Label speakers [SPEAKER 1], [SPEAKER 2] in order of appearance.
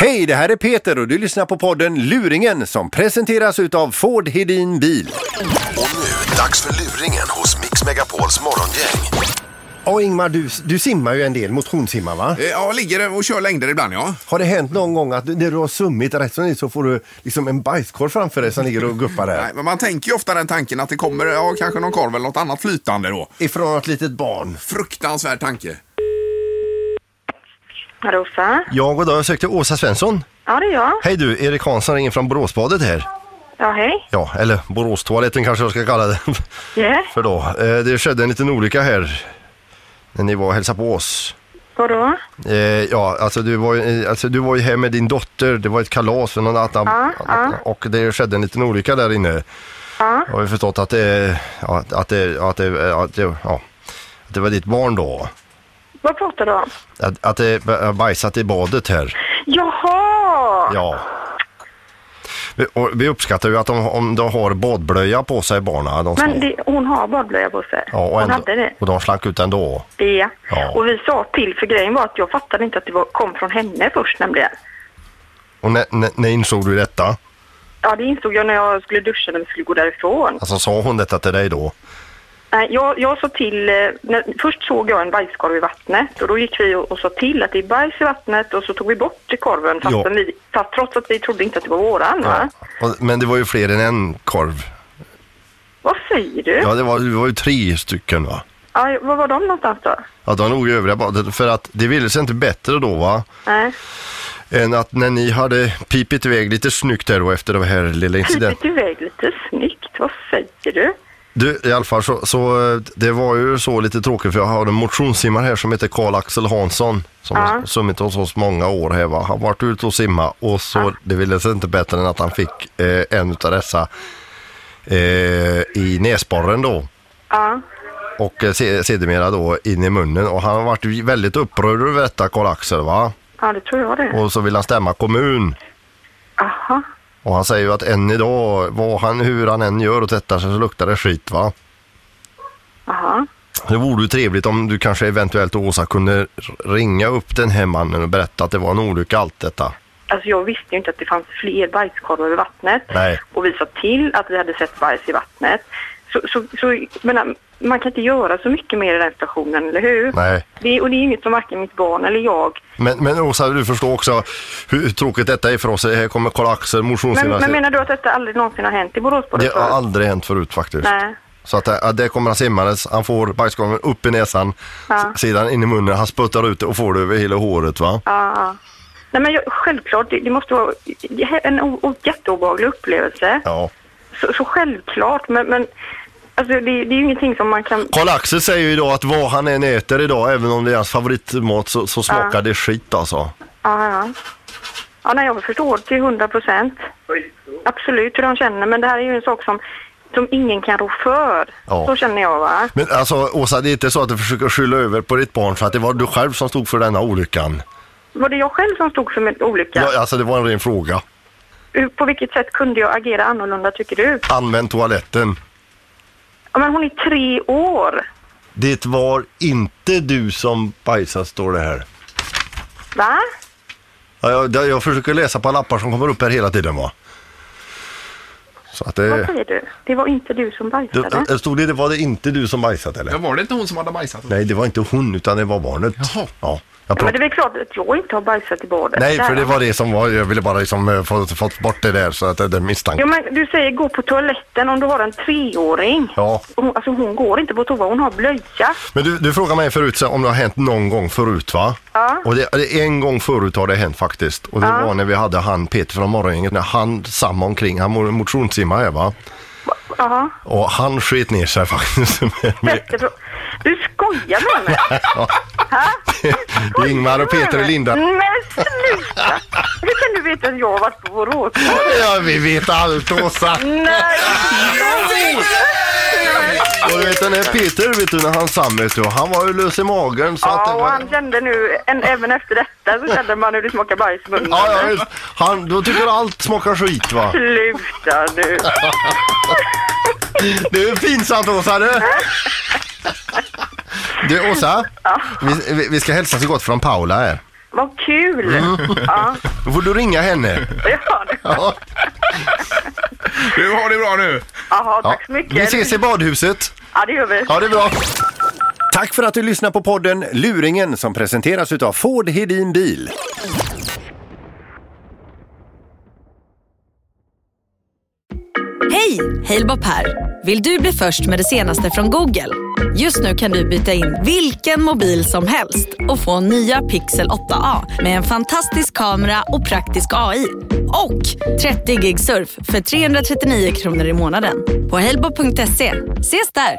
[SPEAKER 1] Hej, det här är Peter och du lyssnar på podden Luringen som presenteras utav Ford Hedin Bil.
[SPEAKER 2] Och nu, dags för luringen hos Mix Megapols morgongäng.
[SPEAKER 1] Ja, Ingmar, du, du simmar ju en del, motionssimmar va?
[SPEAKER 3] Eh, Ja, ligger och kör längder ibland ja.
[SPEAKER 1] Har det hänt någon gång att när du har summit rätt som det är så får du liksom en bajskorv framför dig som ligger och guppar där?
[SPEAKER 3] Nej, men man tänker ju ofta den tanken att det kommer ja, kanske någon korv eller något annat flytande då.
[SPEAKER 1] Ifrån ett litet barn.
[SPEAKER 3] Fruktansvärd tanke.
[SPEAKER 4] Rosa?
[SPEAKER 1] Ja, goddag, jag sökte Åsa Svensson.
[SPEAKER 4] Ja, det är jag.
[SPEAKER 1] Hej du, Erik Hansson ringer från Boråsbadet här.
[SPEAKER 4] Ja, hej.
[SPEAKER 1] Ja, eller Boråstoaletten kanske jag ska kalla den
[SPEAKER 4] Yeah.
[SPEAKER 1] för då. Eh, Det skedde en liten olycka här när ni var och hälsade på oss.
[SPEAKER 4] Vadå?
[SPEAKER 1] Eh, ja, alltså du, var, ju- eh, alltså du var ju här med din dotter, det var ett kalas för någon annan.
[SPEAKER 4] Ja, ja.
[SPEAKER 1] Och det skedde en liten olycka där inne.
[SPEAKER 4] Ja.
[SPEAKER 1] Jag har ju förstått att det, ja, att det, att det, att det, ja, att det var ditt barn då.
[SPEAKER 4] Vad pratar du om?
[SPEAKER 1] Att, att det har bajsat i badet här.
[SPEAKER 4] Jaha!
[SPEAKER 1] Ja. Vi, och vi uppskattar ju att de, om de har badblöja på sig barna. De små.
[SPEAKER 4] Men det, hon har badblöja på sig.
[SPEAKER 1] ja, och,
[SPEAKER 4] hon
[SPEAKER 1] ändå,
[SPEAKER 4] hade det.
[SPEAKER 1] och de slank ut ändå.
[SPEAKER 4] Ja.
[SPEAKER 1] Ja.
[SPEAKER 4] Och vi sa till, för grejen var att jag fattade inte att det var, kom från henne först nämligen.
[SPEAKER 1] Och när, när, när insåg du detta?
[SPEAKER 4] Ja, det insåg jag när jag skulle duscha när vi skulle gå därifrån.
[SPEAKER 1] Alltså sa hon detta till dig då?
[SPEAKER 4] Nej, Jag, jag sa till, eh, när, först såg jag en bajskorv i vattnet och då gick vi och, och sa till att det är bajs i vattnet och så tog vi bort korven fastän
[SPEAKER 1] Ja.
[SPEAKER 4] vi, fast, trots att vi trodde inte att det var våran. Va?
[SPEAKER 1] Och, men det var ju fler än en korv.
[SPEAKER 4] Vad säger du?
[SPEAKER 1] Ja, det var, det var ju tre stycken va?
[SPEAKER 4] Ja, var var de någonstans då?
[SPEAKER 1] Ja, de låg i övriga badet. För att det ville sig inte bättre då va?
[SPEAKER 4] Nej.
[SPEAKER 1] Än att när ni hade pipit iväg lite snyggt här då efter den här lilla incidenten.
[SPEAKER 4] Pipit iväg lite snyggt, vad säger du?
[SPEAKER 1] Du, i alla fall så, så eh, det var ju så lite tråkigt för jag har en motionssimmare här som heter Karl-Axel Hansson. Som har simmit hos oss många år här va. Han varit ute och simma och så det ville sig inte bättre än att han fick eh, en utav dessa eh, i näsborren då.
[SPEAKER 4] Ja,
[SPEAKER 1] och eh, se- sedermera då in i munnen. Och han har varit ju väldigt upprörd över detta, Karl-Axel. Va?
[SPEAKER 4] ja det tror jag det.
[SPEAKER 1] Och så vill han stämma kommun.
[SPEAKER 4] Aha.
[SPEAKER 1] Och han säger ju att än idag, vad han, hur han än gör och tvättar sig så luktar det skit. Va?
[SPEAKER 4] Aha.
[SPEAKER 1] Det vore ju trevligt om du kanske eventuellt Åsa kunde r- ringa upp den här mannen och berätta att det var en olycka allt detta.
[SPEAKER 4] Alltså jag visste ju inte att det fanns fler bajskorvar i vattnet.
[SPEAKER 1] Nej.
[SPEAKER 4] Och vi sa till att vi hade sett bajs i vattnet. Så, så, så jag menar, man kan inte göra så mycket mer i den stationen, eller hur?
[SPEAKER 1] Nej.
[SPEAKER 4] Det, och det är inget som varken mitt barn eller jag...
[SPEAKER 1] Men, men Åsa, du förstår också hur tråkigt detta är för oss. Här kommer Karl-Axel,
[SPEAKER 4] Men,
[SPEAKER 1] motionssimmare.
[SPEAKER 4] men menar du att detta aldrig någonsin har hänt i Borås? på
[SPEAKER 1] Det
[SPEAKER 4] det
[SPEAKER 1] har
[SPEAKER 4] sättet?
[SPEAKER 1] aldrig hänt förut faktiskt.
[SPEAKER 4] Nej.
[SPEAKER 1] Så att det, att det kommer han simmandes, han får bajskorven upp i näsan,
[SPEAKER 4] Ja.
[SPEAKER 1] s- sedan in i munnen, han sputtar ut det och får det över hela håret va?
[SPEAKER 4] Ja, ja. Nej, men jag, självklart, det, det måste vara en o, o, jätteobehaglig upplevelse.
[SPEAKER 1] Ja.
[SPEAKER 4] Så, så självklart, men, men alltså, det, det är ju ingenting som man kan...
[SPEAKER 1] Karl-Axel säger ju idag att vad han än äter idag, även om det är hans favoritmat, så, så smakar det skit alltså.
[SPEAKER 4] Ja, ja. ja nej, jag förstår till hundra procent. Absolut hur de känner, men det här är ju en sak som, som ingen kan rå för.
[SPEAKER 1] Ja.
[SPEAKER 4] Så känner jag, va?
[SPEAKER 1] Men alltså Åsa, det är inte så att du försöker skylla över på ditt barn för att det var du själv som stod för denna olyckan?
[SPEAKER 4] Var det jag själv som stod för min olycka?
[SPEAKER 1] Ja, alltså det var en ren fråga.
[SPEAKER 4] Hur- På vilket sätt kunde jag agera annorlunda, tycker du?
[SPEAKER 1] Använd toaletten.
[SPEAKER 4] Ja, men hon är tre år,
[SPEAKER 1] Det var inte du som bajsade står det här.
[SPEAKER 4] va?
[SPEAKER 1] Ja, jag, jag försöker läsa på lappar som kommer upp här hela tiden va. Så att
[SPEAKER 4] Vad
[SPEAKER 1] det...
[SPEAKER 4] säger du? Det var inte du som
[SPEAKER 1] Eh. Du,
[SPEAKER 4] bajsade.
[SPEAKER 1] äh, stod det, det var det inte du som bajsat eller?
[SPEAKER 3] Men var det inte hon som hade bajsat?
[SPEAKER 1] Nej, det var inte hon utan det var barnet.
[SPEAKER 3] Jaha.
[SPEAKER 1] Ja, jag
[SPEAKER 4] Ja,
[SPEAKER 1] pratar-
[SPEAKER 4] men det är väl klart att jag inte har bajsat i badet.
[SPEAKER 1] Nej, för
[SPEAKER 4] Där.
[SPEAKER 1] det var det som var, jag ville bara liksom eh, få, fått bort det där så att det, det misstanken.
[SPEAKER 4] Ja, men du säger gå på toaletten om du har en treåring.
[SPEAKER 1] Ja.
[SPEAKER 4] Hon, alltså hon går inte på toa, hon har blöja.
[SPEAKER 1] Men du, du frågade mig förut så om det har hänt någon gång förut va?
[SPEAKER 4] Ja.
[SPEAKER 1] Och det, det, en gång förut har det hänt faktiskt. Och det var när vi hade han Peter från morgongänget, när han samma omkring, han mo- motionssimmar här va?
[SPEAKER 4] Jaha.
[SPEAKER 1] Och han sket ner sig faktiskt. Men-
[SPEAKER 4] Bäste frå- Du skojar med mig?
[SPEAKER 1] Det är Ingmar och Peter och Linda.
[SPEAKER 4] Men sluta! Hur kan du veta att jag har varit på Borås?
[SPEAKER 1] Ja, vi vet allt Åsa.
[SPEAKER 4] Nej!
[SPEAKER 1] Och du vet den här Peter, vet du när han sam vet du, han var ju lös i magen så att
[SPEAKER 4] Ja,
[SPEAKER 1] det
[SPEAKER 4] och
[SPEAKER 1] var...
[SPEAKER 4] han kände nu, en, även efter detta så kände man hur det smakar bajs i munnen.
[SPEAKER 1] Ja, ja, visst. Han, då tycker allt smakar skit va.
[SPEAKER 4] Sluta nu!
[SPEAKER 1] Det är pinsamt Åsa du. Du Åsa, vi, vi- vi ska hälsa så gott från Paula här.
[SPEAKER 4] Vad kul!
[SPEAKER 1] Mm.
[SPEAKER 4] Ja,
[SPEAKER 1] Då får du ringa henne.
[SPEAKER 4] ja, det-
[SPEAKER 1] Ja.
[SPEAKER 3] Du har det bra nu.
[SPEAKER 4] Jaha,
[SPEAKER 1] Ja.
[SPEAKER 4] tack så mycket.
[SPEAKER 1] Vi ses i badhuset.
[SPEAKER 4] Ja, det gör vi.
[SPEAKER 1] Ja, det är bra. Tack för att du lyssnar på podden Luringen som presenteras utav Ford Hedin Bil.
[SPEAKER 5] Hej! Halebop här. Vill du bli först med det senaste från Google? Just nu kan du byta in vilken mobil som helst och få nya Pixel 8A med en fantastisk kamera och praktisk AI. Och 30 gig surf för 339 kronor i månaden på halebop.se. Ses där!